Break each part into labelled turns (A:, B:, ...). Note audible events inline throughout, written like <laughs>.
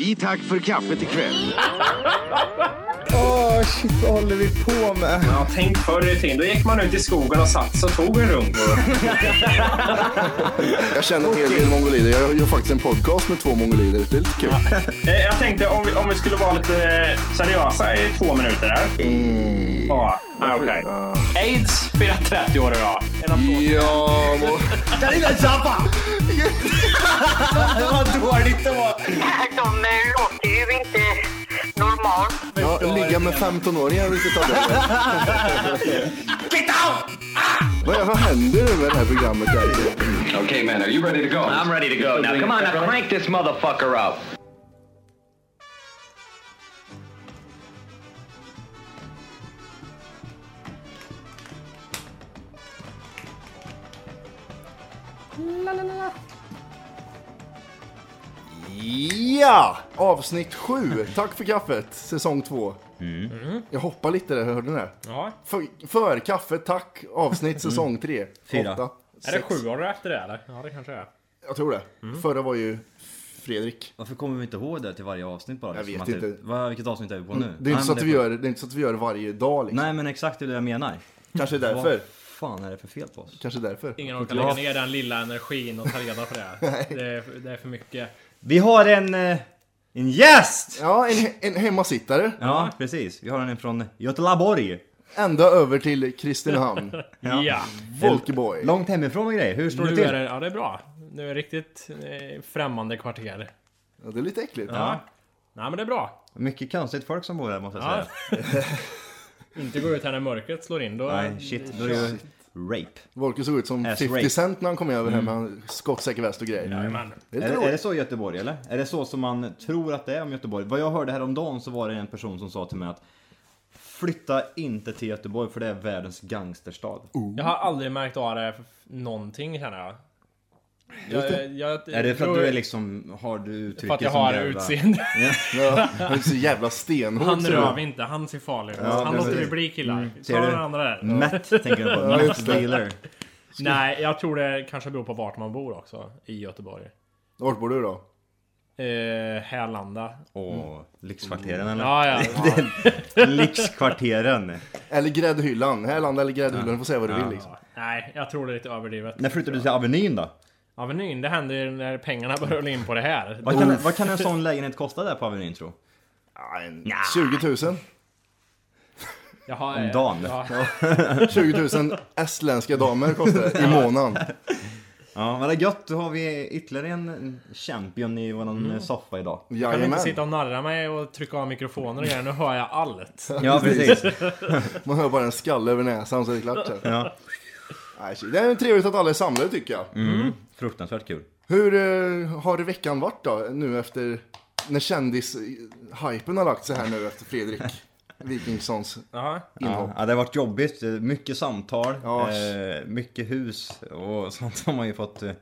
A: I tack för kaffet
B: <laughs>
A: ikväll.
B: Ah,
C: Åh, shit, vad håller vi på med?
D: Ja, tänk förr i tiden. Då gick man ut i skogen och satt sig och tog en runk.
B: Jag känner en hel del mongolider. Jag gör faktiskt en podcast med två mongolider. Det är lite kul.
D: Eh, Jag tänkte om vi, om vi skulle vara lite eh, seriösa i två minuter där.
C: Mm.
D: Ja, ah, okej. Aids firar 30 år idag. En applåd.
B: Ja, må...
C: Vad dåligt det var.
E: De eh, låter ju inte normalt.
B: ja, ligga med 15-åringar vilket av det är. Vad, vad händer nu med det här programmet? Där?
F: Okay, man, are you ready to go? I'm ready to go. Now, come on, now crank this motherfucker up.
B: Ja! Avsnitt 7. Tack för kaffet, säsong 2. Jag hoppar lite där, hörde ni det?
G: Ja.
B: För, för kaffet, tack, avsnitt säsong 3.
C: Mm. Fyra.
G: Är det sju år efter det eller? Ja det kanske är.
B: Jag tror det.
C: Mm.
B: Förra var ju Fredrik.
C: Varför kommer vi inte ihåg det till varje avsnitt bara?
B: Jag
C: Liksom
B: vet
C: att
B: inte.
C: det-
B: Mm,
C: Vad, vilket avsnitt är vi på nu?
B: Det är,
C: Nej,
B: inte så att
C: men
B: vi gör, det är inte så att vi gör det varje dag liksom.
C: Nej, men exakt det är det jag menar.
B: Kanske
C: Vad
B: därför.
C: fan är det för fel på oss?
B: Kanske därför.
G: Ingen orkar lägga ner den lilla energin och ta reda på det.
C: <laughs>
G: här. det, är, det är för mycket.
C: Vi har en... eh, En gäst!
B: Ja, en, en hemmasittare.
C: Ja, precis. Vi har en från Göteborg.
B: Ända över till
C: <laughs>
B: Kristinehamn.
G: Ja.
B: Volkeboy.
C: Långt hemifrån och grejer. Hur står det
G: Nu
C: till?
G: är det, ja det är bra. Nu är det riktigt eh, främmande kvarter.
B: Ja, det är lite äckligt.
G: Ja. Nej men det är bra.
C: Mycket konstigt folk som bor där måste jag
G: Ja.
C: säga.
G: <laughs> inte gå ut här när mörkret slår in. Då,
C: Nej, shit. Då är det ju rape.
B: Volke såg ut som
C: Ass
B: 50
C: rape.
B: Cent när han kom över här med en skottsäker väst och grejer.
G: Jajamän.
B: Det är
C: Mm.
B: lite
C: Är det, är det
B: roligt.
C: så i Göteborg eller? Är det så som man tror att det är om Göteborg? Vad jag hörde häromdagen så var det en person som sa till mig att Flytta inte till Göteborg för det är världens gangsterstad.
G: Jag har aldrig märkt av det för f- någonting känner jag. jag, jag
C: Är det för att
G: tror-
C: du är liksom, har du uttrycket
G: För att jag
C: som
G: har
C: jävla-
G: utseende.
B: Ja, han är så jävla stenhård.
G: <laughs> Han
B: så.
G: rör vi inte, han ser farlig ut. han låter vi bli killar. Ta
C: Mm, Ser du? Mm.
G: den andra där.
C: Matt tänker jag på, Matt
G: Mm.
C: dealer.
G: Nej, jag tror det kanske beror på vart man bor också. I Göteborg.
B: Vart bor du då?
G: Eh, Härlanda.
C: Åh, Lyxkvarteren eller?
G: Ja,
C: <laughs>
G: ja. ja.
C: Lyxkvarteren.
B: Eller Gräddhyllan. Härlanda eller Gräddhyllan. Du får säga vad du vill liksom.
G: Nej, jag tror det är lite överdrivet.
C: När flyttar du till Avenyn då?
G: Avenyn, det händer ju när pengarna börjar rulla in på det här.
C: Vad kan, vad kan en sån lägenhet kosta där på Avenyn tro?
B: Ja, en 20 000.
G: Jag har,
C: Om dagen.
G: Ja,
B: 20 000 estländska damer kostar det i månaden.
C: Ja, men det är gött. Då har vi ytterligare en champion i våran
G: Mm.
C: eh, soffa idag.
G: jag kan inte
B: Jajamän.
G: sitta och narra mig och trycka av mikrofoner och grejer. Nu hör jag allt.
C: Ja, <laughs> precis.
B: Man hör bara en skalle över näsan så är det klart. så.
C: Ja.
B: Nej, shit. Det är trevligt att alla är samlade tycker jag.
G: Mm.
C: Fruktansvärt kul.
B: Hur eh, har veckan varit då? Nu efter när kändishypen har lagt sig här nu efter Fredrik Wikingssons
G: Jaha.
B: inhopp.
C: Ja, det har varit jobbigt. Mycket samtal,
B: Ja.
C: eh, mycket hus och <laughs> sånt har man ju fått, eh,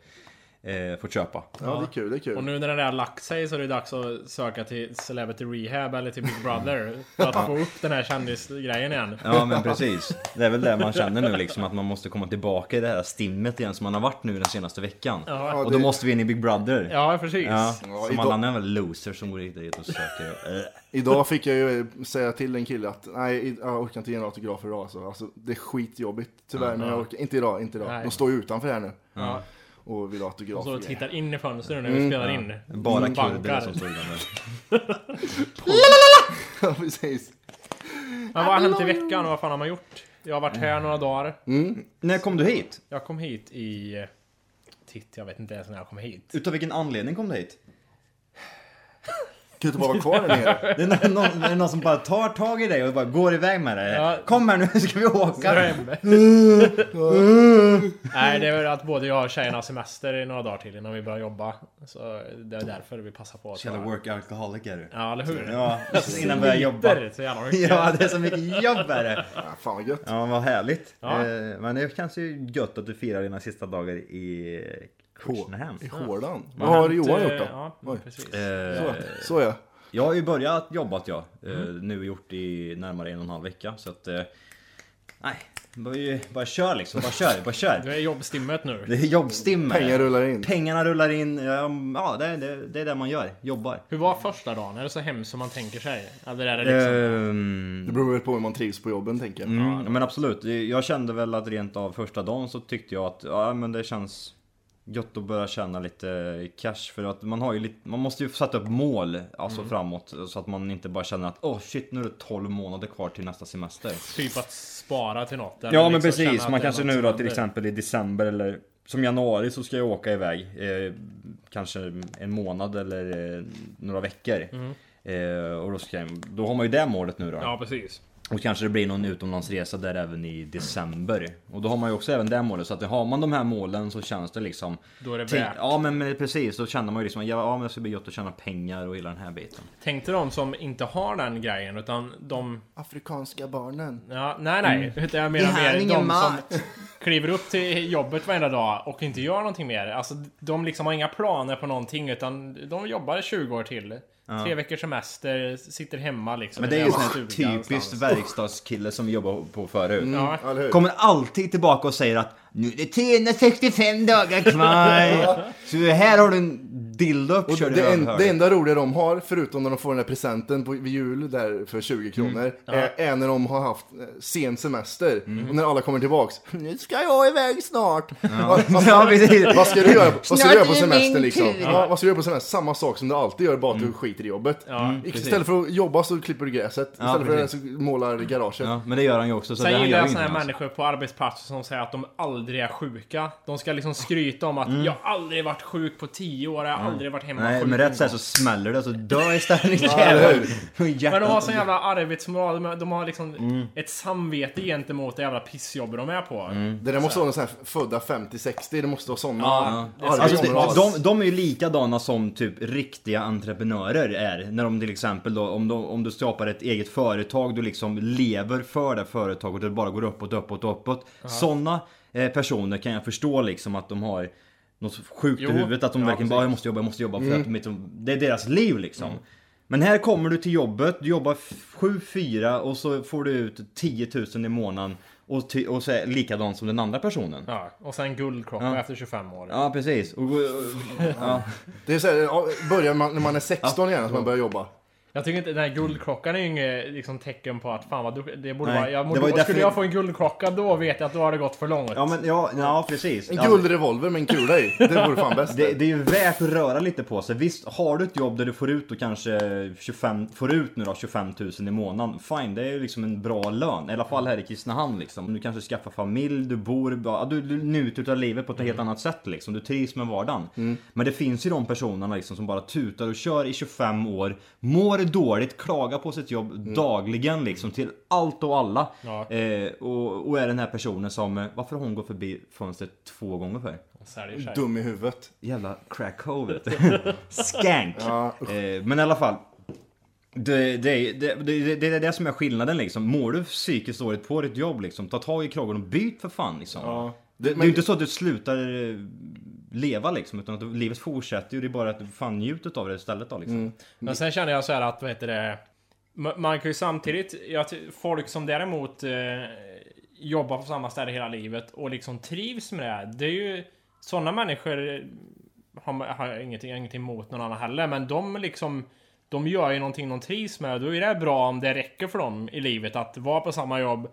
C: fått köpa.
B: Ja, det är kul, det är
G: Och
B: kul.
G: nu när den där har lagt sig så är det dags att söka till Celebrity Rehab eller till Big Brother. För att få upp den här kändisgrejen igen.
C: Ja men precis. Det är väl det man känner nu liksom att man måste komma tillbaka i det här stimmet igen som man har varit nu den senaste veckan.
G: Ja.
C: Och då måste vi in i Big Brother.
G: Ja, precis.
C: Ja,
B: Ja,
C: som
B: idag-
C: alla andra väl losers som går dit och söker. Eh,
B: Idag fick jag ju eh, säga till en kille att nej, i- jag orkar inte ge en autograf idag alltså. alltså det är skitjobbigt tyvärr, men jag orkar inte idag, inte idag.
G: Nej.
B: De står ju utanför här nu
G: Ja.
B: och vill ha
G: Och
B: autografer.
G: så tittar in i fönstret när vi spelar in.
C: Mm.
G: Mm,
C: Bara kurder
G: Bankar.
C: som står
G: <laughs>
C: där.
B: <laughs> Ja, precis.
G: Men vad har hänt i veckan och vad fan har man gjort? Jag har varit
C: Mm.
G: här några dagar.
C: När kom du hit?
G: Jag kom hit i... eh, Titt, jag vet inte ens när jag kom hit.
C: Utav vilken anledning kom du hit?
B: Kan du inte bara vara kvar där
C: <laughs>
B: nere?
C: Det är när någon, det är någon som bara tar tag i dig och bara går iväg med dig.
G: Ja.
C: Kom här nu <laughs> ska vi åka.
G: Nej, det är väl att både jag och tjejerna har semester i några dagar till innan vi börjar jobba. Så det är därför vi passar på att...
C: Jävla workaholic är du.
G: Ja, eller hur? <laughs>
C: Ja, innan vi börjar jobba.
G: Bitter, Så jävla mycket.
C: <laughs> Ja, det är så mycket jobb är det.
B: Ja, Ah, fan vad gött.
C: Ja, vad härligt.
G: Ja.
C: Eh, Men det känns ju gött att du firar dina sista dagar i Kristinehamn.
B: I hårdan. Vad har Johan gjort då?
G: Ja,
B: Oj.
G: precis.
C: Eh,
B: Så ja.
C: Jag har ju
G: Mm.
C: börjat jobbat jag. Eh, Nu gjort i närmare en och en halv vecka. Så att, eh, nej, Bara, bara kör liksom, bara kör, bara kör.
G: <laughs> Nu är jobbstimmet nu.
C: Det är jobbstimme.
B: Pengar rullar in.
C: Pengarna rullar in. Ja, ja det, det, det är det man gör. Jobbar.
G: Hur var första dagen? Är det så hemskt som man tänker sig? Eller är det liksom...
C: Ehm,
B: Det beror väl på hur man trivs på jobben tänker jag.
C: Mm, ja, men absolut. Jag kände väl att rent av första dagen så tyckte jag att ja, men det känns gött att börja tjäna lite cash. För att man, har ju lite, man måste ju sätta upp mål alltså
G: Mm.
C: framåt så att man inte bara känner att åh shit nu är det 12 månader kvar till nästa semester.
G: Typ att spara till något. eller
C: Ja men
G: liksom känna
C: precis,
G: att
C: man
G: det är
C: kanske
G: något
C: nu
G: som
C: då till
G: händer.
C: exempel i december eller som januari så ska jag åka iväg eh, Kanske en månad eller eh, några veckor eh, Och då, ska jag, då har man ju det målet nu då
G: Mm. Ja, precis.
C: Och kanske det blir någon utomlandsresa där även i december Och då har man ju också även det målet så att har man de här målen så känns det liksom
G: Då är det
C: Tänk-
G: värt.
C: Ja men, men precis, då känner man ju liksom ja men det ska bli gött att tjäna pengar och hela den här biten
G: Tänk till de som inte har den grejen utan de...
B: Afrikanska barnen.
G: Ja, nej, nej.
C: Mm.
G: Utan jag menar
B: Vi har
G: mer
B: ingen
G: de som
B: mat.
G: kliver upp till jobbet varenda dag och inte gör någonting mer. Alltså, de liksom har inga planer på någonting utan de jobbar 20 år till. Tre veckors semester, sitter hemma liksom.
C: Men det är
G: i
C: ju
G: en
C: sån här
G: stuga
C: typiskt
G: någonstans.
C: verkstadskille som vi jobbade på förut
G: Ja.
B: Ja, eller hur?
C: Kommer alltid tillbaka och säger att nu är det 365 dagar
G: <laughs>
C: kvar. Så här har du en dildo
B: Och
C: uppkörd i
B: det, en,
C: rövhålet.
B: det enda roliga de har, förutom när de får den där presenten på, vid jul där för 20 kronor, är, är när de har haft eh, sen semester. Och när alla kommer tillbaks. Nu ska jag iväg snart. Vad, vad,
C: <laughs> Ja, precis.
B: vad ska du göra, vad ska
C: Snart
B: du göra på
C: är det
B: semestern
C: min
B: liksom?
C: tur.
B: Ja, vad ska du göra på semestern? Samma sak som du alltid gör, bara att du
C: Mm.
B: skiter i jobbet. Mm. Istället för att jobba så klipper du gräset. Istället för det så
C: precis.
B: målar du garaget.
C: Ja, men det gör han ju också. Så det
G: Sen
C: han
G: gillar
C: gör
G: jag
C: ju
G: såna här
C: inte alls.
G: människor på arbetsplatser som säger att de aldrig är sjuka. De ska liksom skryta om att jag har aldrig varit sjuk på 10 år, jag har aldrig varit hemma
C: Mm. Nej,
G: sjuk
C: men
G: en
C: rätt såhär så
G: gång."
C: smäller det så
G: <laughs>
C: dör istället.
B: eller
C: Jävlar.
G: Men de har sån jävla arbetsmoral, de- de har liksom
C: Mm.
G: ett samvete gentemot det jävla pissjobb de är på.
C: Mm.
B: Det där måste vara någon sån här födda 50-60, det måste vara sådana.
C: Ja, ja. Alltså,
B: arbetsmoral.
C: det- de, de är ju likadana som typ riktiga entreprenörer är. När de till exempel då, om, de, om du skapar ett eget företag, du liksom lever för det företaget och det bara går uppåt, uppåt, uppåt. Sådana eh, personer kan jag förstå liksom att de har något sjukt
G: Jo,
C: i huvudet, att de
G: ja,
C: verkligen bara
G: precis.
C: jag måste jobba, jag måste jobba för att mitt, det är deras liv liksom. Men här kommer du till jobbet, du jobbar 7-4 och så får du ut 10 000 i månaden och, ty- och så är likadant som den andra personen. Ja,
G: Ja, och sen guldklocka efter 25 år.
C: precis. Och, ja.
B: Det är så här, ja, börjar man, när man är 16 igen, att man börjar jobba.
G: Jag tycker inte den här guldklockan är ju inget liksom, tecken på att fan vad du, det borde
C: Nej,
G: vara... Jag
C: det
G: borde,
C: var ju
G: skulle
C: därför-
G: jag få en guldklocka då vet jag att då har det gått för långt.
C: Ja men ja, ja precis.
B: En
C: Ja,
B: guldrevolver med en kula i. Det vore fan bäst.
C: det, det är ju värt att röra lite på sig. Visst, har du ett jobb där du får ut och kanske 25, får ut nu då 25 000 i månaden. Fine, det är ju liksom en bra lön. I alla fall här i Kristinehamn liksom. Du kanske skaffar familj, du bor, ja, du, du njuter av livet på ett helt annat sätt liksom. Du trivs med vardagen. Men det finns ju de personerna liksom som bara tutar och kör i 25 år, mår dåligt, klagar på sitt jobb dagligen liksom till allt och alla.
G: Ja.
C: Eh, och, och är den här personen som, eh, varför har hon gått förbi fönstret två gånger för?
G: Säljer sig.
B: Dum i huvudet.
C: Jävla crackhovet. Skank.
B: Ja,
C: eh, men i alla fall. Det, det, det, det, det är det som är skillnaden liksom. Mår du psykiskt dåligt på ditt jobb liksom, ta tag i kragen och byt för fan liksom.
B: Det,
C: Det är ju inte så att du slutar eh, leva liksom, utan att du, livet fortsätter ju. Det är bara att du fan njuter av det istället då liksom.
G: Men sen känner jag så här att, vad heter det? ma- Man kan ju samtidigt, jag, ty- folk som däremot eh, jobbar på samma ställe hela livet och liksom trivs med det. här, Det är ju sådana människor eh, har, man- har jag ingenting, ingenting emot någon annan heller, men de liksom de gör ju någonting de trivs med. Då är det bra om det räcker för dem i livet att vara på samma jobb,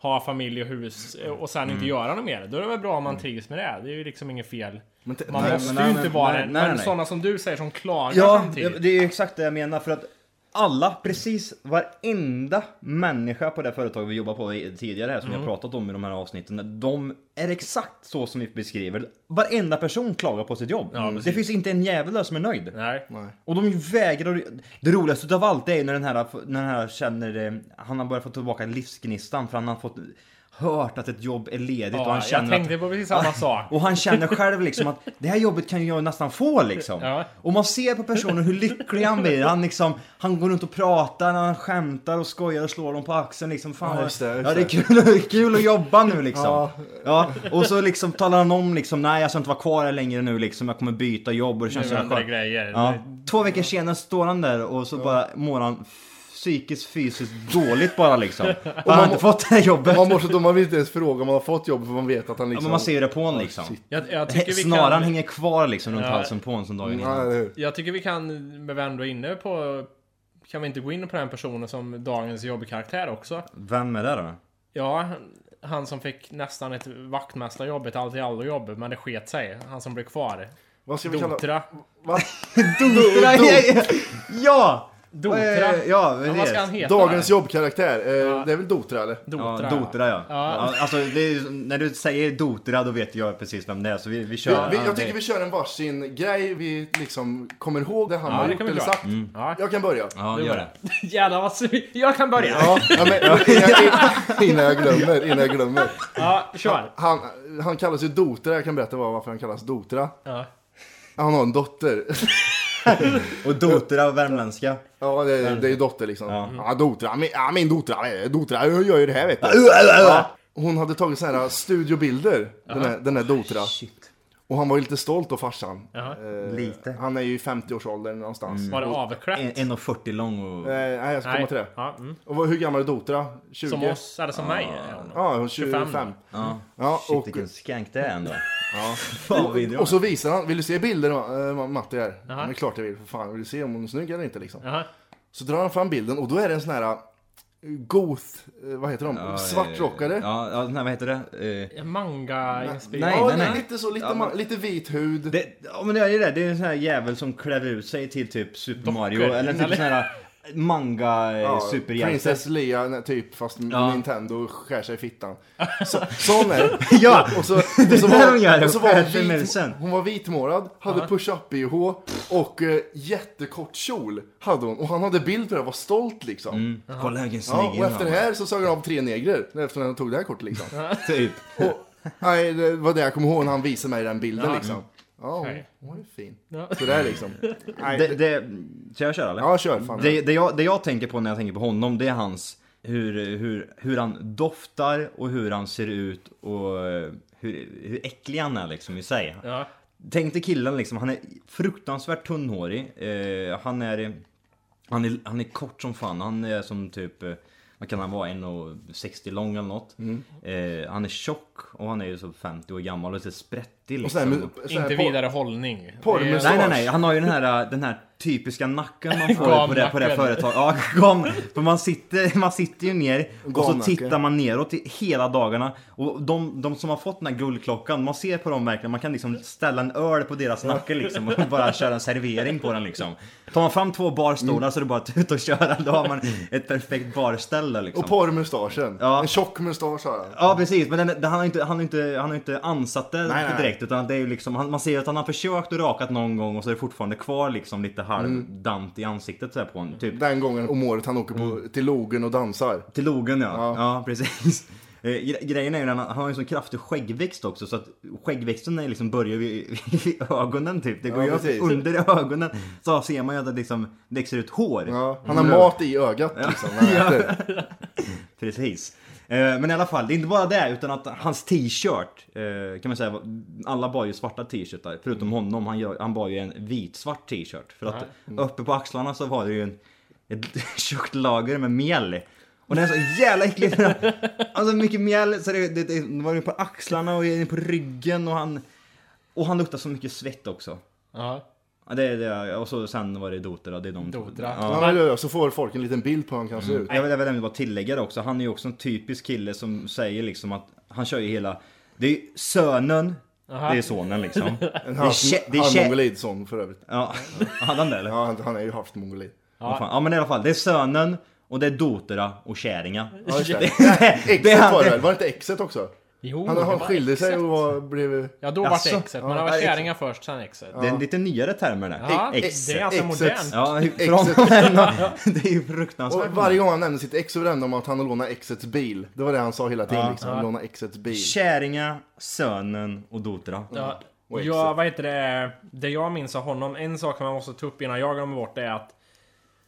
G: ha familj och hus eh, och sen
C: Mm.
G: inte göra något mer. Då är det väl bra om man trivs med det. Det är ju liksom inget fel.
B: Men te-
G: Man
B: nej,
G: måste ju
C: men- nej,
G: inte
C: men-
G: vara
C: nej,
G: den.
C: nej,
G: Men
C: nej.
G: sådana som du säger som klagar
C: Ja,
G: samtidigt.
C: det är ju exakt det jag menar för att alla, precis varenda människa på det företag vi jobbar på i- tidigare här som
G: Mm.
C: jag pratat om i de här avsnitten, de är exakt så som vi beskriver. Varenda person klagar på sitt jobb. Mm. det finns inte en jävel där som är nöjd.
G: Nej.
C: Och de vägrar Det roligaste utav allt är när den här, när den här känner, eh, han har börjat få tillbaka livsgnistan för han har fått hört att ett jobb är ledigt och
G: Ja,
C: han känner
G: jag
C: att
G: tänkte på precis samma
C: <laughs>
G: sak.
C: och han känner själv liksom att det här jobbet kan ju jag nästan få liksom.
G: Ja.
C: Och man ser på personen hur lycklig han blir. Han, liksom, han går runt och pratar, han skämtar och skojar och slår dem på axeln liksom. Fan,
B: Ja, just det, just
C: ja, det är
B: det.
C: kul, det är kul att jobba nu liksom.
B: Ja.
C: Ja. Och så liksom talar han om liksom, nej jag ska inte vara kvar här längre nu liksom. Jag kommer byta jobb och det känns
G: Nu
C: så här
G: händer det
C: skönt.
G: grejer.
C: Ja. Två veckor senare står han där och så bara mår han psykiskt, fysiskt dåligt
B: <laughs>
C: bara liksom. Han
B: man
C: har
B: må-
C: inte fått det här jobbet.
B: Man mår så dum, man vill inte ens fråga om man har fått jobb för man vet att han
C: Ja,
B: liksom...
C: men man ser ju det på honom liksom.
B: shit.
G: Jag, jag, tycker vi
C: Snaran
G: kan,
C: hänger kvar liksom runt
G: Ja.
C: halsen på honom som dagen
B: Mm. Ja,
C: innan.
B: eller hur?
G: jag tycker vi kan, med vi ändå är inne på, kan vi inte gå in på den personen som dagens jobbkaraktär också?
C: Vem är det då?
G: Ja, han som fick nästan ett vaktmästarjobb, ett allt i allo jobb, men det sket sig. Han som blev kvar.
B: Vad ska vi kalla...
G: Dotra.
B: Va?
C: Ja! ja, Ja!
G: Dotra.
C: Eh, ja,
G: Ja, vad ska han heta?
B: Dagens jobbkaraktär. Eh, Det är väl Dotra eller?
G: Dotra.
C: Ja, Dotra ja.
G: Ja.
C: ja. Alltså, det är, ju- när du säger Dotra då vet jag precis vem det är så vi, vi kör.
B: Vi,
C: Ja,
B: jag
C: det-
B: tycker vi kör en varsin grej, vi liksom kommer ihåg det han
G: Ja,
B: har
G: det
B: gjort
G: kan vi
B: eller
G: göra. Mm.
B: sagt.
G: Ja.
B: Jag kan börja.
C: Ja, gör det.
G: <laughs> Jävlar vad svi- Jag kan börja! Ja,
B: Ja, ja, men, innan, innan jag glömmer, innan jag glömmer.
G: kör!
B: Han, han kallas ju Dotra, jag kan berätta var- varför han kallas Dotra.
G: Ja.
B: Han har en dotter. <laughs>
C: Och Dotra värmländska.
B: Ja, det, det är ju dotter liksom. Ja,
C: Ja.
B: Dotra, min, ja, min Dotra, eh, Dotra jag gör ju det här vet du. Ja, hon hade tagit sådana här studiobilder, den här, den här Dotra. Och han var ju lite stolt då farsan.
G: Jaha.
B: Eh,
C: Lite.
B: Han är ju i 50-årsåldern någonstans.
G: Mm. Var det avklätt?
C: En- 1,40 lång och...
B: Eh, nej, jag ska komma till det.
G: Ja, mm.
B: Och vad- hur gammal är Dotra? 20?
G: Som oss, eller som mig. är hon.
B: Ja, hon är 25.
G: 25.
C: Ja.
B: Ja,
C: Shit
B: och-
C: vilken skank det
B: <laughs>
C: är ändå. Ja. Fan <laughs> vad vidrig hon är.
B: Och så visar han, vill du se bilder eh, Matti här?
G: Jaha.
B: Det är klart jag vill, för fan. Vill du se om hon är snygg eller inte liksom?
G: Jaha.
B: Så drar han fram bilden och då är det en sån här eh, goth, eh, vad heter de?
C: Ja,
B: Svartrockade.
C: eh, Ja, ja, nej, vad heter det? Eh,
G: Manga-inspirerad.
C: Nej,
B: Ja,
C: nej, nej.
B: lite så, lite,
C: Ja,
B: ma- lite vit hud.
C: Det, ja men det är ju det, det är en sån här jävel som klär ut sig till typ Super Mario
G: Dockor,
C: eller typ
G: eller?
C: sån här manga ja,
B: Ja,
C: superhjälte.
B: Princess Leia nej, typ, fast
C: Ja.
B: Nintendo skär sig i
C: <laughs>
B: fittan. Så, sån är
C: Ja!
B: Och så, och så
C: där hon gör det,
B: och så var hon,
C: skär sig med
B: vit,
C: musen.
B: hon var vitmålad, hade push-up-bh och eh, jättekort kjol hade hon. Och han hade bild på det, var stolt liksom.
C: Kolla vilken Mm, snygg
B: Ja, och efter det
C: här...
B: här så sög han av tre negrer, efter han tog det här kortet liksom.
C: Typ.
B: Och, nej, det var det jag kommer ihåg när han visade mig den bilden liksom. Ja, hon-
G: Okej.
B: hon är fin.
G: Ja.
B: Sådär liksom. Nej,
C: Det, det, ska jag köra eller?
B: Ja, kör fan.
C: Det, det, jag, det jag tänker på när jag tänker på honom det är hans hur, hur, hur han doftar och hur han ser ut och eh, hur, hur äcklig han är liksom i sig.
G: Ja.
C: Tänk dig killen liksom, han är fruktansvärt tunnhårig. Eh, han, är, han är Han är kort som fan, han är som typ eh, vad kan han vara? 1,60 lång eller något. Eh, han är tjock och han är ju så 50 år gammal och så sprättig
B: Och
C: liksom.
B: sådär, med- sådär
G: Inte
B: på-
G: vidare hållning.
B: Porrmustasch.
C: Nej nej nej, han har ju den här, äh, den här typiska nacken man får på det, på det
G: Gamnacken.
C: företaget. Ja, <laughs> gam. För man sitter, man sitter ju ner och så
B: Gamnacke.
C: tittar man neråt i hela dagarna. Och de, de som har fått den här guldklockan, man ser på dem verkligen, man kan liksom ställa en öl på deras nacke liksom och bara köra en servering på den liksom. Tar man fram två barstolar så är det bara att ut och köra, då har man ett perfekt barställe liksom.
B: Och porrmustaschen.
C: Ja.
B: En tjock mustasch har han.
C: Ja precis, men den, den, han har ju inte, han har inte, han har inte ansatt det
B: Nej, nej,
C: direkt utan det är ju liksom, han, man ser att han har försökt och rakat någon gång och så är det fortfarande kvar liksom lite halvdant i ansiktet så här på honom. Typ
B: Den gången om året han åker på, till logen och dansar.
C: till logen ja.
B: Ja.
C: ja. <laughs> precis. Eh, gre- Grejen är ju den att han har ju en sån kraftig skäggväxt också så att skäggväxten är liksom börjar <laughs> vid, vid ögonen typ. Det går
B: Ja,
C: ju upp
B: precis.
C: under ögonen så ser man ju att det liksom växer ut hår.
B: Ja. Han har mat i ögat liksom. när han äter.
C: Precis. Eh, Men i alla fall, det är inte bara det utan att hans t-shirt, eh, kan man säga, alla bar ju svarta t-shirtar förutom honom, han, gör, han bar ju en vit-svart t-shirt. För att uppe på axlarna så var det ju en, ett <laughs> tjockt lager med mjäll. Och den är så jävla äcklig! Alltså mycket mjäll, så det, det, det var ju på axlarna och på ryggen och han... Och han luktar så mycket svett också.
G: Ja.
C: Ja, Det, det, och så sen var det Dotra, det är de två.
G: Dotra.
C: Ja.
B: Han vill göra Så får folk en liten bild på hur han kan se ut.
C: Jag vill, jag vill även bara tillägga det också, han är ju också en typisk kille som säger liksom att han kör ju hela, det är ju sönen, det är
G: <laughs>
C: sonen liksom. Det
B: En
C: är tje- det är tje-
B: halvmongolidson för övrigt.
C: Ja, hade han det eller?
B: Ja, han, han är ju halvt mongolid.
C: Ja. fan. ja men i alla fall, det är sönen och det är Dotera och Käringa.
B: Ja, just det. <laughs>
C: det,
B: Exet
C: han- Oh,
B: var det väl? Var det inte Exet också?
G: Jo,
B: Han,
G: det
B: han
G: var
B: skilde sig
G: exet.
B: och var, blev...
G: Ja, då
C: Jaså?
G: vart det exet. Men han var
B: Ja,
G: käringar först, sen exet.
C: det är en lite nyare termer det.
G: Ja,
C: Ex-
G: det är alltså ganska
B: exet.
G: modernt.
C: Ja, för
B: <laughs>
C: honom är <laughs> det- det är ju
B: Och
C: fruktansvärt.
B: varje gång han nämnde sitt ex så vände om att han lånade exets bil. Det var det han sa hela tiden liksom. Han lånade exets bil.
C: Käringa, sönen och Dotera.
G: Ja,
B: Och
G: ja
B: exet.
G: vad heter det? Det jag minns av honom, en sak man måste ta upp innan jag glömmer bort det är att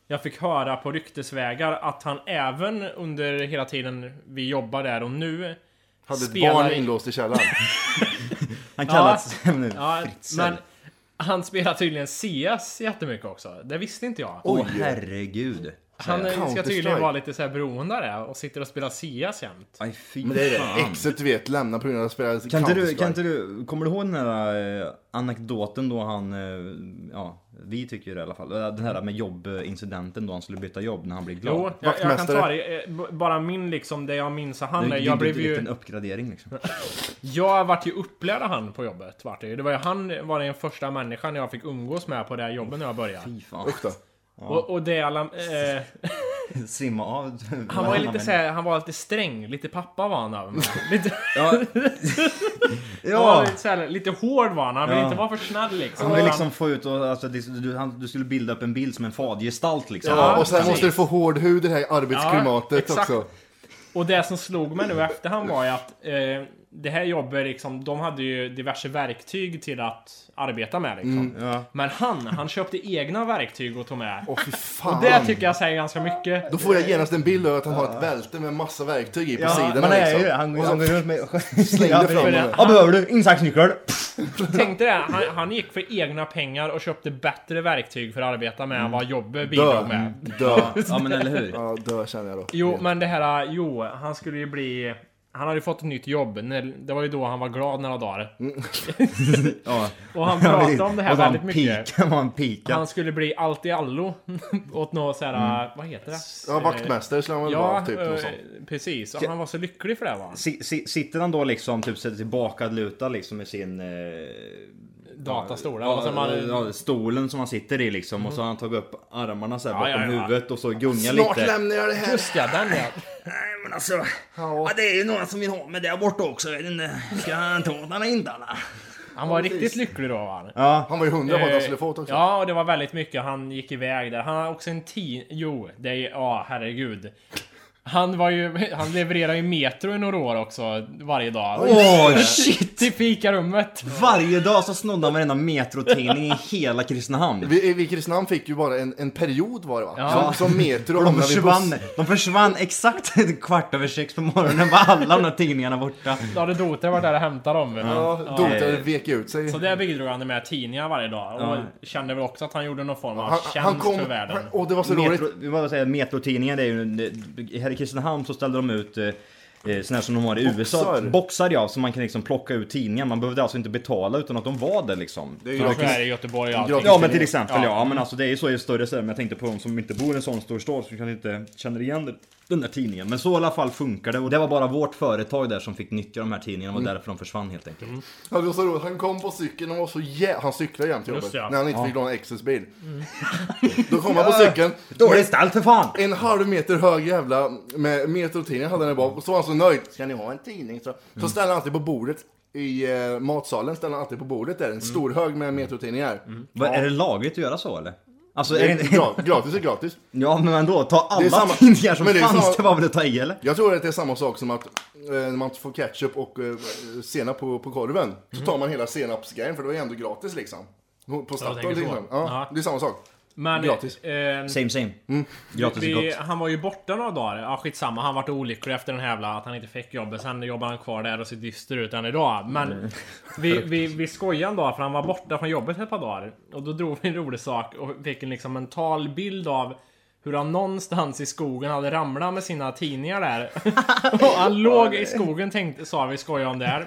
G: jag fick höra på ryktesvägar att han även under hela tiden vi jobbar där och nu
B: Hade ett
G: spelar
B: barn
G: i-
B: inlåst i källaren.
C: Han kallas... <laughs>
G: Ja,
C: Fritzl.
G: men han spelar tydligen CS jättemycket också. Det visste inte jag.
C: Åh herregud.
G: Han eh, ska
B: Counter-Strike.
G: tydligen vara lite så här beroende av det och sitter och spelar Sias jämt.
C: Aj fy
B: Men det är det
C: fan.
B: exet du vet, lämna på grund av att spela
C: Kan inte, du,
B: Counter-Strike.
C: kan inte du, kommer du ihåg den här eh, anekdoten då han, eh, ja, vi tycker det i alla fall, Eh, den här med jobbincidenten då han skulle byta jobb när han blev glad?
G: Jo, jag, jag kan
B: Vaktmästare.
G: ta det. Eh, b- Bara min liksom, det jag minns av
C: Det,
G: han. är-
C: det
G: Jag
C: jag
G: blev
C: direkt
G: ju...
C: en uppgradering liksom.
G: Jag vart ju upplärd av han på jobbet. Vart det. ju. det var ju han var den första människan jag fick umgås med på det här jobbet när jag började.
C: Fy fan.
B: Usch då.
G: Och, och det alla, eh,
C: Simma av.
G: han var ju lite så här, han var lite sträng. Lite pappa var han
C: <laughs>
G: av mig. Lite, <laughs>
C: Ja.
G: han var
C: ja.
G: lite, så här, lite hård var han. Han ville
C: Ja.
G: inte vara för snäll liksom.
C: Han vill liksom få ut och, alltså, det- du, han, du skulle bilda upp en bild som en fadgestalt liksom.
B: Ja, och sen
G: precis.
B: måste du få hård hud i det här
G: Ja,
B: arbetsklimatet
G: exakt.
B: också.
G: Och det som slog mig nu i efterhand var ju att eh, det här jobbet liksom, de hade ju diverse verktyg till att arbeta med liksom.
C: Ja.
G: Men han, han köpte egna verktyg och tog med.
B: Åh fy fan.
G: Och det tycker jag säger ganska mycket.
B: Då får jag genast en bild av att han har ett bälte med massa verktyg i på sidorna
C: men nej,
B: liksom.
C: han,
B: Och så-
C: han går runt med... <laughs>
B: slängde fram
G: det.
C: Ja, behöver du?
G: <laughs>
C: Insatsnyckel!
G: Tänkte det, han, han gick för egna pengar och köpte bättre verktyg för att arbeta med
C: Mm.
G: än vad jobbet
B: Dö, Mm,
G: bidrog med.
B: dö.
C: Ja men eller hur?
B: Ja, dö känner jag då.
G: Jo, men det här, jo, han skulle ju bli... Han hade ju fått ett nytt jobb. När, det var ju då han var glad några dagar.
C: Mm. Ja.
G: Och han pratade om det här
C: Och då han
G: väldigt mycket.
C: Pika, han pika.
G: Han skulle bli allt i allo. <laughs> åt något så här,
C: Mm.
G: vad heter det?
B: Ja, vaktmästare skulle han väl
G: Ja,
B: vara, typ.
G: eh,
B: något sånt.
G: precis. Och han var så lycklig för det va?
C: Si- si- Sitter han då liksom typ sig tillbaka luta liksom med sin... Eh,
G: Datastol.
C: ja,
G: Ja, alltså, som man,
C: ja, stolen som han sitter i liksom och så har han tagit upp armarna så här
G: Ja,
C: bakom
G: ja, ja.
C: huvudet och så gungar
B: Snart
C: lite.
B: lämnar jag det här.
G: Just ja, den ja.
C: Nej men alltså. Ja. det är ju några som vill ha mig där borta också. Jag vet inte. Ska han ta den här indarna?
G: Han var riktigt lycklig då va?
B: Han var ju hundra på att han
G: Eh,
B: skulle få det också.
G: Ja, och det var väldigt mycket han gick iväg där. Han har också en tid... Jo, det är... Ja, herregud. Han var ju... Han levererade ju Metro i några år också, varje dag.
C: Åh shit!
G: Till fikarummet!
C: Varje dag så snodde han varenda metrotidning i hela Kristinehamn.
B: Vi, vi i Kristinehamn fick ju bara en, en period var det va?
G: Ja.
B: Som, som metro
C: Och
B: hamnade
C: de
B: vid buss.
C: försvann, de försvann exakt en kvart över sex på morgonen var alla de där tidningarna borta.
G: Då hade Dota varit där och hämtat dem. vet du.
B: Ja, Dota vek ut sig.
G: Så det bidrog han med tidningar varje dag. Och
C: Ja.
G: kände väl också att han gjorde någon form av
B: Han,
G: tjänst
B: han kom...
G: för världen.
B: Han, åh, det var så roligt.
C: Metro, vi bara säga, metrotidningar det är ju, det- här i Kristinehamn så ställde de ut eh, eh, såna här som de har i USA.
B: Boxar.
C: Boxar ja, så man kan liksom plocka ut tidningar. Man behövde alltså inte betala utan att de var där liksom.
B: Det är ju
G: Och
B: verkligen-
G: så är det i Göteborg och allting.
B: Gratis.
C: Ja men till exempel ja. men alltså det är ju så i större städer. Men jag tänkte på de som inte bor i en sån stor stad så kanske inte känner igen det- den där tidningen. Men så i alla fall funkar det. Och det var bara vårt företag där som fick nyttja de här tidningarna.
B: Mm.
C: Och därför de försvann helt enkelt.
B: Ja, det var så roligt. Han kom på cykeln och var så jä... Han cyklade jämt till jobbet.
G: Just ja. Mm.
B: När han inte fick låna Exes bil. Då kom han på cykeln.
C: Dåligt ställt för fan!
B: En halv meter hög jävla med metrotidning hade han där bak. Och så var han så nöjd. Ska ni ha en tidning? Så,
C: Mm.
B: så ställde han alltid på bordet. I eh, matsalen ställde han alltid på bordet där. En stor hög med metrotidningar.
C: Mm. Vad- Är det lagligt att göra så eller? Alltså,
B: Det
C: är
B: är
C: det,
B: gra- gratis är gratis.
C: <laughs> ja men ändå, ta
B: Det är
C: alla
B: samma-
C: tidningar som
B: men det är
C: fanns,
B: samma-
C: det var väl att ta i eller?
B: Jag tror att det är samma sak som att eh, när man får ketchup och eh, senap på, på korven.
C: Mm.
B: Så tar man hela senapsgrejen för det var ju ändå gratis liksom. På
G: tänker
B: Statoil
G: så.
B: liksom. Ja,
G: Ja.
B: det är samma sak.
G: Men,
B: Gratis.
G: eh,
C: Same same. Mm. Gratis och
G: Vi,
C: gott.
G: han var ju borta några dagar. Ja, skitsamma. Han vart olycklig efter den här jävla att han inte fick jobbet. Sen jobbar han kvar där och ser dyster ut än idag.
C: Mm.
G: Men
C: <laughs>
G: vi, vi, vi skojade en dag för han var borta från jobbet ett par dagar. Och då drog vi en rolig sak och fick en liksom mental bild av hur han någonstans i skogen hade ramlat med sina tidningar
C: <laughs>
G: där. Och han låg i skogen tänkte, sa vi skojade om det här.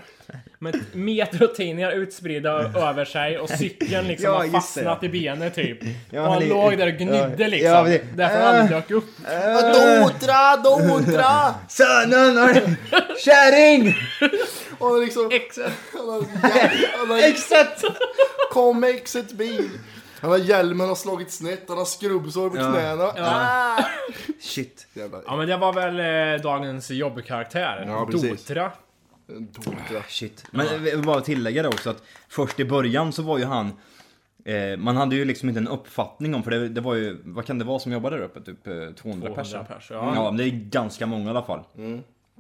G: Med metrotidningar utspridda över sig och cykeln liksom
C: Ja,
G: har
C: just det.
G: fastnat i benet typ.
C: Ja,
G: och han
C: det-
G: låg där och gnydde
C: ja,
G: liksom.
C: ja, det- Ah.
G: Därför han aldrig dök upp.
C: Äh.
B: Dotra, dotra!
C: Sönen har... Kärring!
B: Och liksom...
G: Exakt.
B: Han har, han har,
C: Exakt!
B: kom med exet bil! Han har hjälmen har slagit snett, han har skrubbsår på knäna. Ah!
C: Shit.
B: Jävla
G: Ja men det var väl eh, dagens jobbkaraktär.
B: Ja, precis.
G: Dotra.
B: dotra.
C: Shit. Men jag vill bara tillägga det också att först i början så var ju han Eh, man hade ju liksom inte en uppfattning om, för det, det var ju, vad kan det vara som jobbade där uppe? Typ eh, 200, 200
G: 200
C: personer? Mm.
G: pers,
C: ja. Mm.
G: ja.
C: men det är ganska många i alla fall.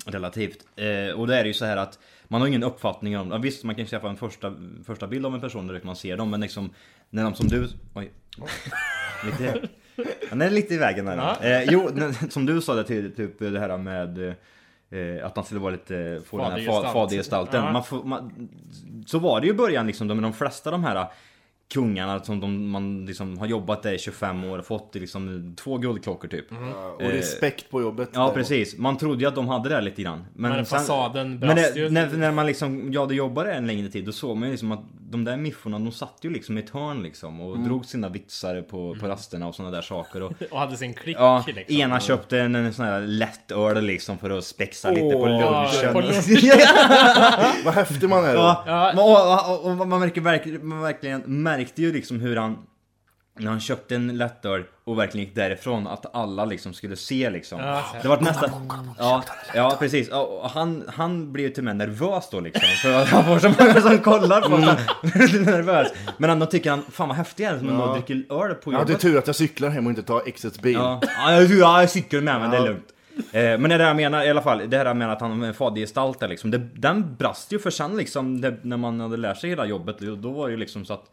C: Relativt. Eh, och det är ju så här att man har ingen uppfattning om, ja, visst man kan skaffa en första, första bild av en person direkt man ser dem, men liksom när de som du... Oj. lite, han är lite i vägen där.
G: Ja.
C: Eh, jo, när- som du sa det till typ det här med eh, att man skulle vara lite, få den här fa-
G: Fadergestalt.
C: fadergestalten.
G: Ja.
C: Man får, man, så var det ju i början liksom, de, de flesta de här kungarna som de, man liksom har jobbat där i 25 år och fått liksom två guldklockor typ.
B: Och respekt på jobbet.
C: Ja precis, man trodde ju att de hade det lite grann. Men,
G: Men fasaden
C: men
G: brast
C: det,
G: ju.
C: När, när man liksom, ja det jobbade en längre tid, då såg man ju liksom att de där mifforna de satt ju liksom i ett hörn liksom och
G: Mm.
C: drog sina vitsar på, på rasterna och sådana där saker.
G: <laughs>
C: Och,
G: Och hade sin klick
C: Ja,
G: liksom.
C: ena köpte en, en sån här lättöl liksom för att spexa lite på
B: Åh,
C: lunchen.
G: på
C: <laughs>
G: <laughs>
B: Vad häftig man är. då.
C: Ja, men- och, och, och man, märker, verk- man verkligen märkte ju liksom hur han när han köpte en lättöl och verkligen gick därifrån att alla liksom skulle se liksom.
G: Ja, så här.
C: det var nästan... Ja, ja precis. Ja, Och han, han blir ju till och med nervös då liksom. För att han får så många som kollar på honom. Han blir <laughs> nervös. Men ändå tycker han, fan vad häftigt det är som man bara dricker öl på
B: Mm. Ja,
C: jobbet.
B: det är tur att jag cyklar hem och inte tar exets bil.
C: Ja, ja jag, ja, jag cyklar med men det är lugnt. Eh, Men det där jag menar i alla fall, det här jag menar att han är en fadergestalt där liksom. Det, den brast ju för sen liksom det, när man hade lärt sig hela jobbet. Då då var det ju liksom så att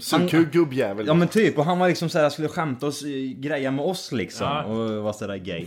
B: Sugkuk Mm, gubbjävel.
C: Ja men typ, och han var liksom såhär, skulle skämta och s- greja med oss liksom.
G: Ja.
C: Och var sådär gay.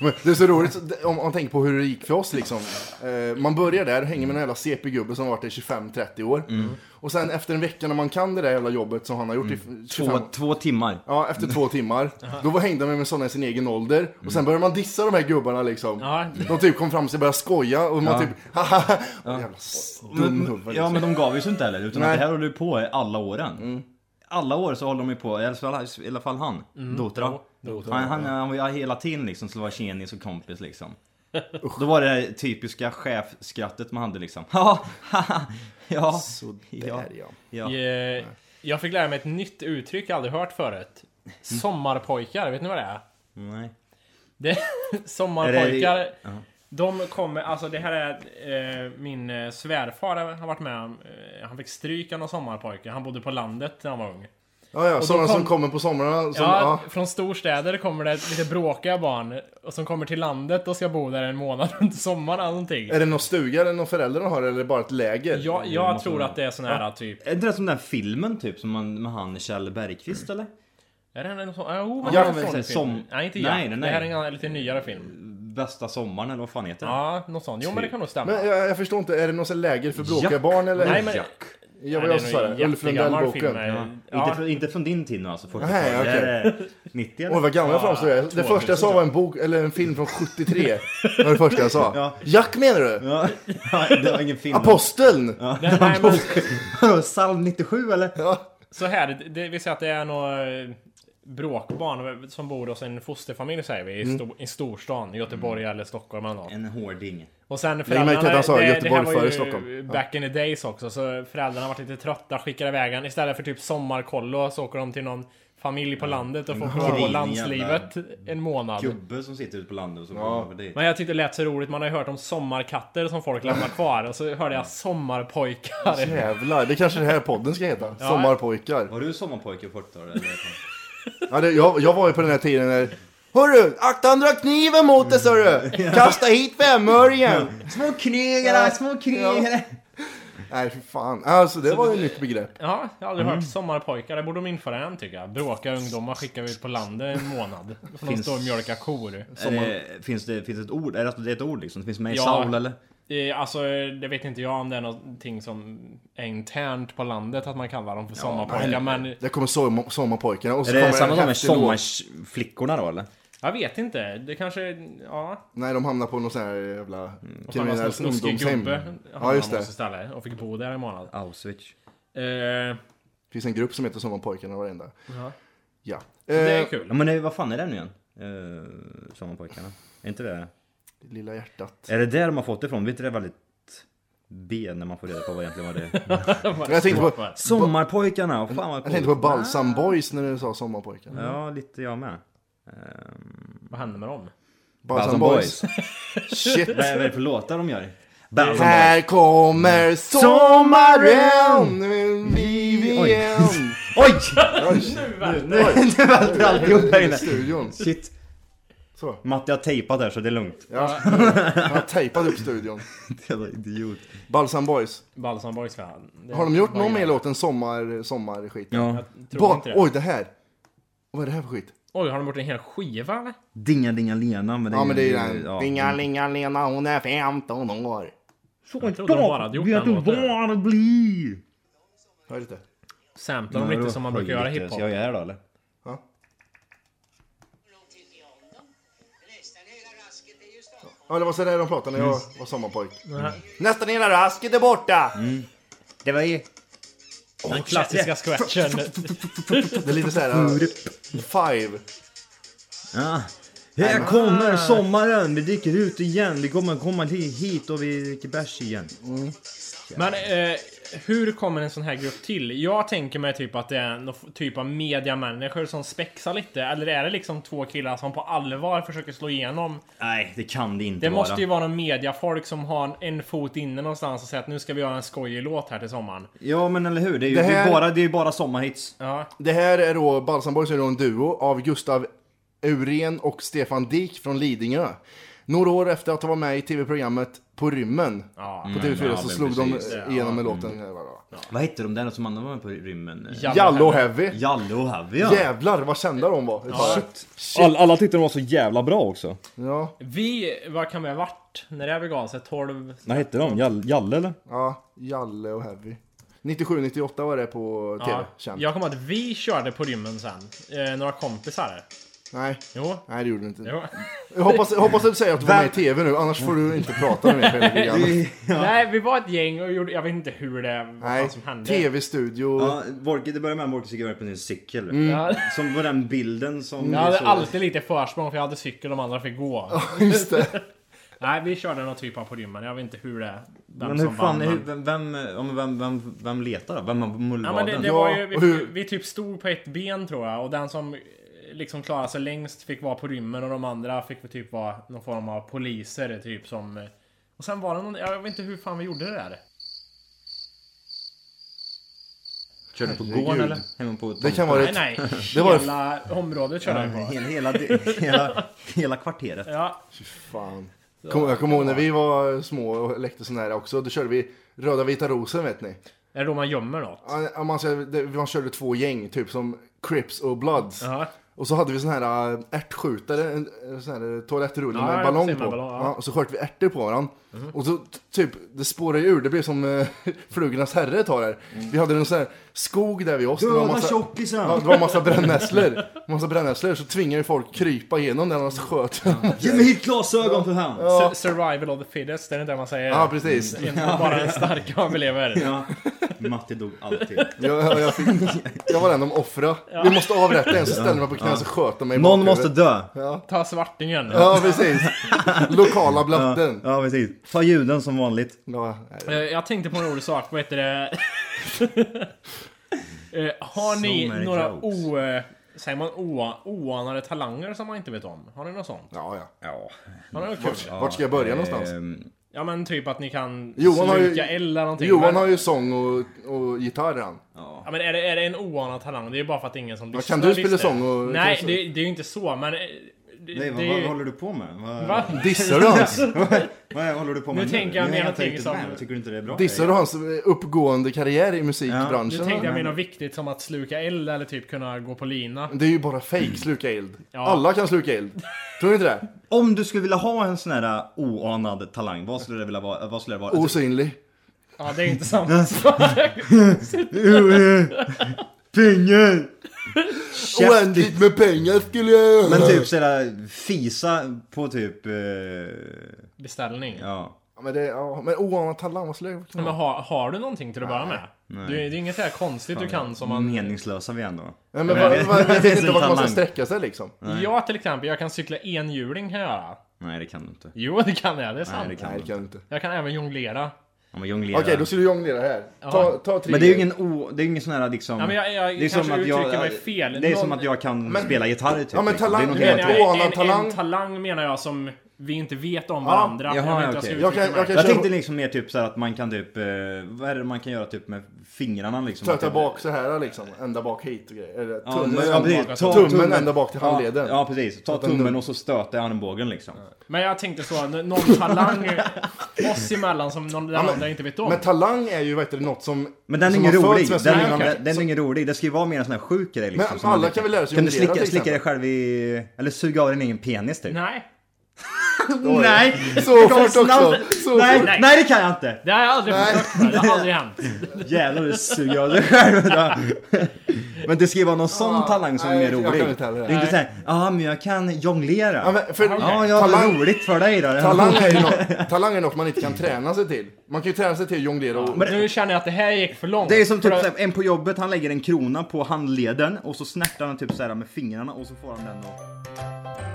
B: Men Det är så roligt så det- om om man tänker på hur det gick för oss liksom. Eh, man börjar där och hänger med en jävla CP-gubbe som har varit där i 25-30 år.
C: Mm.
B: Och sen efter en vecka när man kan det där jävla jobbet som han har gjort i 25
C: Mm. Två, två timmar.
B: Ja, efter två timmar. Då var hängde man med sådana i sin egen ålder. Och sen började man dissa de här gubbarna liksom.
G: Ja.
B: De typ kom fram och började skoja och man typ <laughs> haha. Jävla liksom. s- dum
C: Men,
B: huvud.
C: ja men de gav ju sig inte heller, utan
B: Nej.
C: att det här håller ju på i alla åren. Alla år så håller de ju på, i alla fall- i alla fall han, Dotra. Han, han, han var ju hela tiden liksom, skulle vara tjenis och kompis liksom. <laughs> Då var det här typiska chefskrattet man hade liksom. <laughs> Ja, ja, ja.
B: Där, ja.
C: ja.
G: Eh, Jag fick lära mig ett nytt uttryck jag aldrig hört förut. Sommarpojkar, vet ni vad det är?
C: Nej.
G: Det, <laughs> sommarpojkar,
C: Är det- ja.
G: de kommer, alltså det här är eh, min eh, svärfar har varit med om. Eh, han fick stryk av någon sommarpojke. Han bodde på landet när han var ung.
B: ja, ja
G: då
B: sådana som
G: kom-
B: kommer på somrarna. Som,
G: ja,
B: ja.
G: Från storstäder kommer det lite bråkiga barn och som kommer till landet och ska bo där en månad <laughs> runt sommaren eller någonting.
B: Är det någon stuga eller någon föräldrarna har eller är det bara ett läger?
G: Jag, jag tror att det är sån här typ...
C: Är inte det som den här filmen typ, som man, med han Kjell Bergqvist eller?
G: Är det en sån? Jo, men
C: Ja,
G: det är en
C: men
G: sån
C: så
G: film.
C: här, som-
G: nej, inte
C: Nej,
G: nej,
C: nej,
G: Det här är
C: nej.
G: en annan- lite nyare film.
C: Bästa sommaren eller vad fan heter den?
G: Ja, något sånt. Jo, men det kan nog stämma.
B: Men eh, jag, jag förstår inte, är det någon sån här läger för bråkiga
C: Jack.
B: barn eller?
G: Nej, men-
C: Jack.
B: Jag var
G: Nej,
B: jag som
G: det
B: sa
G: är nog
B: det.
G: en
B: Ulf
G: jättegammal film,
B: Lundell-boken.
G: eh,
C: Ja.
G: ja.
C: Inte, från, inte från din tid nu alltså, 40
B: Nej, okej.
C: Det är, eh, 90 eller?
B: Oj vad gammal jag framstår. jag. Det första jag sa var en bok, eller en film från
G: <laughs>
B: 73. Det var det första jag sa.
C: Ja.
B: Jack menar du?
C: Ja, det var ingen film.
B: Aposteln! Ja.
G: Nej, nej, men,
C: Psalm 97 eller?
G: så här, det- det, vi säger att det är några eh, bråkbarn som bor hos en fosterfamilj säger vi,
C: Mm.
G: i, sto, i storstan, i Göteborg eller Stockholm eller något.
C: En hårding.
G: Och sen
B: märke till
G: föräldrarna,
B: att han sa
G: det, det
B: Göteborg
G: här var
B: före
G: ju
B: Stockholm.
G: back in the days också, så föräldrarna varit lite trötta, skickade iväg han. Istället för typ sommarkollo så åker de till någon familj på landet och får prova på
C: grinig
G: landslivet en månad.
C: Gubbe som sitter ute på landet och så kommer över dit.
G: Men jag tyckte det lät så roligt, man har ju hört om sommarkatter som folk
C: <laughs>
G: lämnar kvar och så hörde jag sommarpojkar.
B: Jävlar, det kanske den här podden ska heta. Sommarpojkar.
C: Var du sommarpojke på 40-talet? eller?
B: Ja, det, jag, jag var ju på den här tiden när... Hörru, akta han drar kniven mot dig hörru! Kasta hit femöringen!
C: små knegare, små knegare!
B: Nej fy fan, alltså det var ju ett nytt begrepp.
G: Ja, jag har aldrig
C: Mm.
G: hört sommarpojkar, det borde de införa än tycker jag. Bråkiga ungdomar skickar vi ut på landet en månad. Får de
C: Finns-
G: stå och mjölka kor.
C: Är det- Finns det finns ett ord? Är det, det är ett ord liksom? Det finns med i
G: Ja.
C: Saul eller?
G: Eh, Alltså, det vet inte jag om det är någonting som är internt på landet att man kallar dem för sommarpojkar, men
B: Det kommer sommar, sommarpojkarna och så
C: Är det
B: kommer
C: samma som
B: en
C: med
B: häftig låt.
C: sommarflickorna då eller?
G: jag vet inte. Det kanske, ja.
B: Nej, de hamnar på någon sån här jävla
C: Mm.
G: Han var en
B: kriminellt
G: sån snuskig
B: ungdomshem.
G: gubbe.
B: Ja just det.
G: Istället, och fick bo där en månad.
C: Auschwitz.
G: Eh,
B: Det finns en grupp som heter Sommarpojkarna varenda.
G: Ja.
B: Ja.
G: det är
B: Eh,
G: kul.
C: Ja men det- vad fan är det nu igen? Eh, sommarpojkarna? Är inte det?
B: Lilla hjärtat.
C: Är det där de har fått det ifrån? Vet inte det är väldigt B när man får reda på vad egentligen
B: <laughs>
C: var det är?
B: Jag tänkte på,
C: Sommarpojkarna! och Fan vad
B: jag tänkte på
C: coolt!
B: Balsam Boys när du sa Sommarpojkarna.
C: Ja, lite jag med.
G: Vad hände med dem?
B: Balsam
C: Balsam
B: Boys.
C: Boys.
B: Shit.
C: Vad är vad är det för låtar de gör? Balsam Boys.
B: Här kommer
C: <laughs>
B: sommaren, liv
C: Oj.
B: igen.
G: <laughs>
C: Oj!
B: Oj,
C: Nu nu välter alltihop här inne.
B: studion.
C: Shit.
B: Så.
C: Matte jag har tejpat här så det är lugnt. <laughs>
B: Ja. Jag tejpade upp studion.
C: Jävla idiot.
B: Balsam Boys.
G: Balsam Boys va? Det-
B: Har de gjort någon
G: vad
B: mer
G: gör-
B: låten sommar, sommarskit?
C: Ja.
G: Tror
B: Ba-
G: inte det.
B: Oj, det här. Vad är det här för skit?
G: Oj, har de gjort en hel skiva eller?
C: Dinga dinga Lena. Men det
B: Ja, men det är ju den.
C: ja.
B: Dingalingalena, hon är 15 år.
G: Jag trodde de bara hade gjort den låten.
C: bli?
B: Hör lite.
G: samplar de lite som man brukar göra i hiphop.
C: Jag är då eller?
B: Ja, det var så där de pratade när jag var sommarpojk.
G: här.
B: Nästan hela rasket är borta!
C: Det var ju...
G: Den klassiska scratchen.
B: Det är lite så här...
C: Mm.
B: uh, Five.
C: Ja. Här kommer sommaren, vi dricker ut igen, vi kommer komma hit och vi dricker bärs igen.
G: Men eh, hur kommer en sån här grupp till? Jag tänker mig typ att det är någon f- typ av mediamänniskor som spexar lite. Eller är det liksom två killar som på allvar försöker slå igenom?
C: Nej, det kan det inte
G: Det
C: vara.
G: måste ju vara någon mediafolk som har en, en fot inne någonstans och säger att nu ska vi göra en skojig låt här till sommaren.
C: Ja men eller hur, det är ju
B: Det
C: det är
B: här-
C: bara, det är ju bara sommarhits.
G: Ja.
B: Det här är då Balsam Boys är då en duo av Gustav Euren och Stefan Dik från Lidingö. Några år efter att de var med i tv-programmet På rymmen
G: Ja.
B: på TV4
C: ja,
B: så
C: men
B: slog de
C: precis.
B: igenom med låten. här, va, då.
C: Vad hette de där som andra var med på rymmen?
B: Jallo Heavy.
C: Jallo och Havia. Ja.
B: Jävlar vad kända de var. Shit.
C: All, alla tyckte de var så jävla bra också.
B: Ja,
G: Vi, vad kan vi ha varit när det här begav sig? 12?
C: Vad hette de? Jall, Jalle eller?
B: ja, Jalle och Heavy. 97-98 var det på tv.
G: Ja.
B: Känt.
G: Jag kommer ihåg att vi körde på rymmen sen. Eh, några kompisar.
B: Nej,
G: Jo.
B: nej det gjorde du inte.
G: jo.
B: Jag hoppas, jag hoppas att du säger att du var med i tv nu, annars får du inte prata med mig på hela programmet.
G: Nej, vi var ett gäng och gjorde, jag vet inte hur det, vad
B: Nej,
G: fan som hände.
B: tv-studio.
C: <laughs> Ja, Borke, det började med att Borke fick göra på sin cykel.
G: Ja.
C: Som var den bilden som...
G: Jag hade
C: så-
G: alltid lite försprång för jag hade cykel och de andra fick gå.
B: Just det.
G: <laughs> Nej, vi körde någon typ av på rymmen. Jag vet inte hur det... Vem
C: Men hur
G: som
C: fan,
G: vann,
C: hur,
G: men-
C: vem, vem, ja, men vem, vem, vem letar då? Vem har
G: Ja, men det,
C: mullvaden?
G: det var ju,
B: Ja,
G: vi,
B: och hur-
G: vi typ stod på ett ben tror jag och den som eh, liksom klarade sig längst fick vara på rymmen och de andra fick väl typ vara någon form av poliser typ som... eh, Och sen var det någon, jag vet inte hur fan vi gjorde det där.
C: Körde du på
B: Herregud.
C: gården eller? Hemma på
B: Det kan vara
G: Nej
B: ett...
G: nej,
B: <laughs> Det var-
G: hela området körde vi på.
C: Hela, hela, hela, hela kvarteret.
G: Ja,
B: Fan. Kom, jag kommer ihåg när vi var små och lekte sån här också. Då körde vi röda vita rosen vet ni.
G: är det då man gömmer något?
B: Ja, ja, Man, körde- det- man körde två gäng, typ som Crips och Bloods.
G: Ja.
B: Och så hade vi sån här äh, ärtskjutare, en en sån här toalettrulle
G: Ja,
B: med en
G: jag
B: ballong
G: ser
B: på.
G: med ballong, ja. Mhm.
B: ja. och så sköt vi ärtor på varandra. Och så t- typ, det spårar ju ur, det blev som äh, <laughs> flugornas herre tar här.
G: Mm.
B: Vi hade en sån här skog där vid oss. det var
C: Döda
B: massa-
C: tjockisen!
B: Ja, det var massa brännässlor. Massa brännässlor, så tvingade ju folk krypa igenom den och så sköt <laughs>
C: Ge mig hit glasögon för fan!
G: Su- Survival of the fittest, är det inte det man säger?
B: Ja, precis.
G: En- Bara den
B: <laughs>
G: starka överlever.
C: Ja. Matti dog alltid.
B: Jag, jag, jag, fick, jag var den de offra. Vi måste avrätta en så ställer man på knä så sköt de mig i
C: <laughs> Någon
B: bakhuvudet.
C: måste dö!
G: Ta svartingen.
B: Ja precis. Lokala blatten.
C: Ja precis. Ta juden som vanligt.
B: Ja.
G: Eh, Jag tänkte på en rolig sak, vad heter det? <laughs> Eh, Har ni
C: So many
G: några
C: jokes.
G: o... eh, Säger man oa- oanade talanger som man inte vet om? Har ni något sånt?
B: Ja, ja.
C: Ja.
G: Har ni något kul?
B: Vart ska jag börja någonstans?
C: Ehm,
G: Ja men typ att ni kan
B: Johan har ju-
G: sluka eld eller någonting.
B: Johan
G: men,
B: har ju sång och, och gitarr han.
G: ja, men är, det, är det en oanad talang? Det är ju bara för att det är ingen som lyssnar.
B: kan du spela
G: visst det.
B: sång och-
G: Nej,
B: kan du-
G: det, det är ju inte så men... eh, Det,
C: Nej,
G: det
C: vad,
G: är
C: vad
G: ju...
C: håller du på med? Vad,
G: <laughs> Va?
B: Dissar du hans,
C: <laughs> vad håller du på med
G: Nu tänker jag
C: Nu
G: mer
C: är inte
G: någonting
C: riktigt
G: som-
C: med. Tycker du inte det är bra?
B: dissar du hans uppgående karriär i
G: Nu
B: musikbranschen?
G: tänkte jag mer något viktigt som att sluka eld eller typ kunna gå på lina.
B: Det är ju bara fake sluka eld.
G: Ja.
B: Alla kan sluka eld. Tror ni inte det?
C: Om du skulle vilja ha en sån här äh, oanad talang, vad skulle det vilja vara? Vad skulle det vara? <laughs>
B: Osynlig.
G: Ja, det är inte samma sak.
C: pengar!
B: Oändligt med pengar skulle jag
C: Men typ sådär fisa på typ... eh,
G: Beställning.
C: ja.
B: Ja, Men, det, ja, men oanad talang, vad skulle jag
G: Ja,
B: kunna
G: Men har, har du någonting till att börja med?
C: Nej.
G: Du, det är inget så här konstigt du kan som man...
C: Meningslösa vi är ändå.
B: Nej, men vad- vad-
C: Det
B: Jag
C: finns
B: vet inte
C: en
B: vart man ska
C: talang.
B: sträcka sig liksom.
G: Jag till exempel, jag kan cykla enhjuling kan jag göra.
C: Nej det kan du inte.
G: Jo, det kan jag. Det är sant.
C: Nej det kan
B: Nej,
C: du
B: det
C: inte.
B: kan jag inte.
G: Jag kan även jonglera.
C: Ja, men jonglera.
B: Okej, då ska du jonglera här. Ta, ta tre.
C: Men det är ju ingen o... Det är ingen sån här liksom...
G: Ja, men jag, jag
C: det är
G: kanske
C: som att jag...
G: uttrycker mig fel.
C: Det är
G: Någon-
C: som att jag kan spela gitarr typ.
B: Ja, men
C: liksom.
B: talang-
C: Det är någonting
G: Men
C: jag
B: jag
C: inte-
B: tror
G: jag,
B: annan
G: en,
B: talang.
G: talang. en talang menar jag som vi inte vet om varandra.
C: jaha,
G: jag vet inte,
C: okej.
G: ska
B: Jag kan,
G: uttrycka
B: jag
G: mig.
B: kan
C: Jag
B: köra
C: tänkte liksom mer typ så här att man kan typ... eh, Vad är det man kan göra typ med fingrarna liksom? Att
B: Töta
C: jag-
B: bak så här liksom, ända bak hit och grejer. Eller,
C: Ja,
B: tummen,
C: men- ja, precis. Ta
B: tummen ända bak till handleden.
C: alltså. Ja, ja precis, ta tummen och så stöta i armbågen liksom.
G: Men jag tänkte så, n- någon talang oss emellan som någon den
B: men-
G: andra inte vet om.
B: Men talang är ju vet du, något som...
C: Men den är
B: som
C: ingen
B: har fötts
C: rolig,
B: med
C: den,
B: sina-
C: den, den är ingen rolig, det ska ju vara mer en sån här sjuk grej liksom.
B: Men
C: som man
B: alla
C: lyckas-
B: kan väl lära sig
C: Kan du
B: jonglera,
C: slicka,
B: till
C: slicka dig själv i... Eller suga av din egen penis typ?
G: Nej.
C: Nej!
B: <laughs> Så hårt också! Så
C: Nej,
B: hårt.
C: nej. nej, det kan jag inte!
G: Det har jag aldrig
B: Nej.
G: försökt med. Det har aldrig hänt.
C: Jävlar du suger av dig själv idag. Men det ska ju vara någon sån
B: Ah,
C: talang som är
B: nej,
C: mer
B: jag kan
C: rolig.
B: inte heller det.
C: det är inte såhär, ja men jag kan jonglera.
B: Ja, men för,
C: Ja, jag
B: talang,
C: har roligt för dig då.
B: talang, är ju något, talang är något man inte kan träna sig till. Man kan ju träna sig till att jonglera och...
C: <laughs> Men-
G: Nu känner jag att det här gick för långt.
C: <laughs> Det är som
G: För
C: typ
G: att-
C: såhär, en på jobbet, han lägger en krona på handleden och så snärtar han typ såhär med fingrarna och så får han den och...